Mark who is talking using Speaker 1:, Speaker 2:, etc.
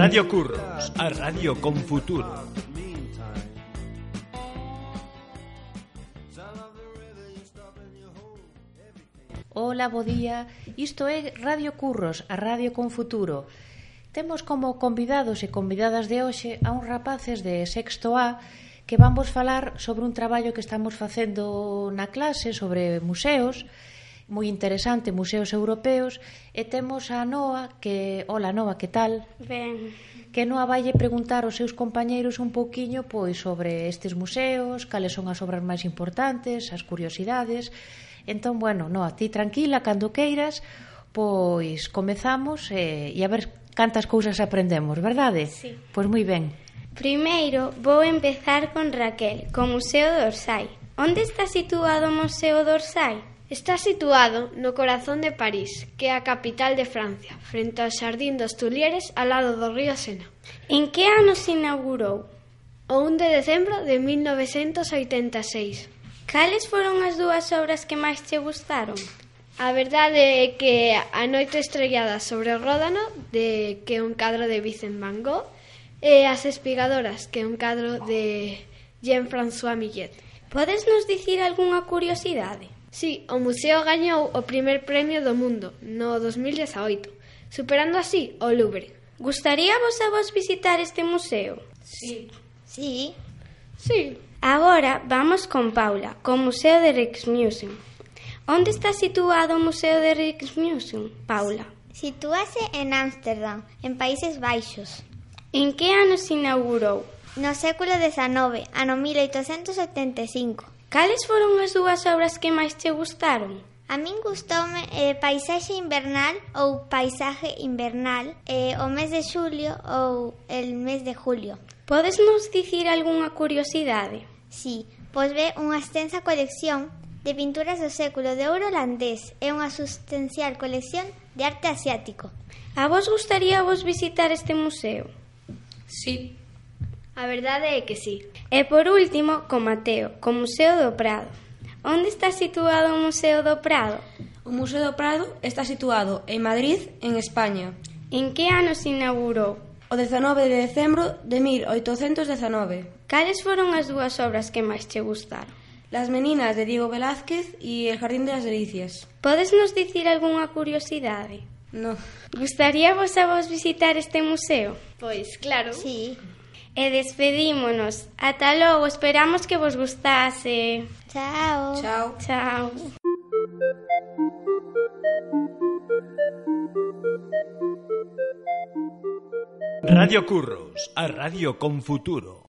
Speaker 1: Radio Curros, a radio con futuro.
Speaker 2: Ola, bo día. Isto é Radio Curros, a radio con futuro. Temos como convidados e convidadas de hoxe a uns rapaces de sexto A que vamos falar sobre un traballo que estamos facendo na clase sobre museos, moi interesante, museos europeos, e temos a Noa, que... Ola, Noa, que tal?
Speaker 3: Ben,
Speaker 2: que Noa vaille preguntar aos seus compañeiros un pouquiño pois sobre estes museos, cales son as obras máis importantes, as curiosidades. Entón, bueno, Noa, ti tranquila, cando queiras, pois comezamos eh, e a ver cantas cousas aprendemos, verdade?
Speaker 3: Sí.
Speaker 2: Pois moi ben.
Speaker 3: primeiro vou empezar con Raquel, co Museo do Orsay. Onde está situado o Museo do Orsay?
Speaker 4: Está situado no corazón de París, que é a capital de Francia, frente ao Xardín dos Tulieres ao lado do río Sena,
Speaker 3: En que ano se inaugurou?
Speaker 4: o 1 de decembro de 1986.
Speaker 3: Cales foron as dúas obras que máis che gustaron?
Speaker 4: A verdade é que a noite estrellada sobre o Ródano, de que é un cadro de Vicent Van Gogh, e as espigadoras, que é un cadro de Jean-François Millet.
Speaker 3: Podes nos dicir algunha curiosidade?
Speaker 4: Sí, o museo gañou o primer premio do mundo no 2018, superando así o Louvre.
Speaker 3: Gustaría vos a vos visitar este museo?
Speaker 5: Sí,
Speaker 4: Sí,
Speaker 3: Agora vamos con Paula, co Museo de Rijksmuseum. Onde está situado o Museo de Rijksmuseum, Paula?
Speaker 5: sitúase en Ámsterdam, en Países Baixos.
Speaker 3: En que ano se inaugurou?
Speaker 5: No século XIX, ano 1875.
Speaker 3: Cales foron as dúas obras que máis te gustaron?
Speaker 5: A min gustoume eh, Paisaxe invernal ou Paisaje invernal eh, o mes de xulio ou el mes de julio.
Speaker 3: Podes nos dicir algunha curiosidade?
Speaker 5: Si, pois ve unha extensa colección de pinturas do século de ouro holandés e unha substancial colección de arte asiático.
Speaker 3: A vos gustaría vos visitar este museo?
Speaker 4: a verdade é que sí.
Speaker 3: E por último, co Mateo, co Museo do Prado. Onde está situado o Museo do Prado?
Speaker 6: O Museo do Prado está situado en Madrid, en España,
Speaker 3: En que ano se inaugurou?
Speaker 6: o 19 de decembro de 1819.
Speaker 3: Cales foron as dúas obras que máis te gustaron?
Speaker 6: Las meninas de Diego Velázquez y El jardín de las delicias.
Speaker 3: Podes nos dicir algunha curiosidade?
Speaker 6: No.
Speaker 3: Gustaría vos a vos visitar este museo?
Speaker 4: Pois claro.
Speaker 5: Si,
Speaker 3: E despedímonos. Ata logo, esperamos que vos gustase.
Speaker 5: chao.
Speaker 6: Chao.
Speaker 3: Chao.
Speaker 1: Radio Curros, a radio con futuro.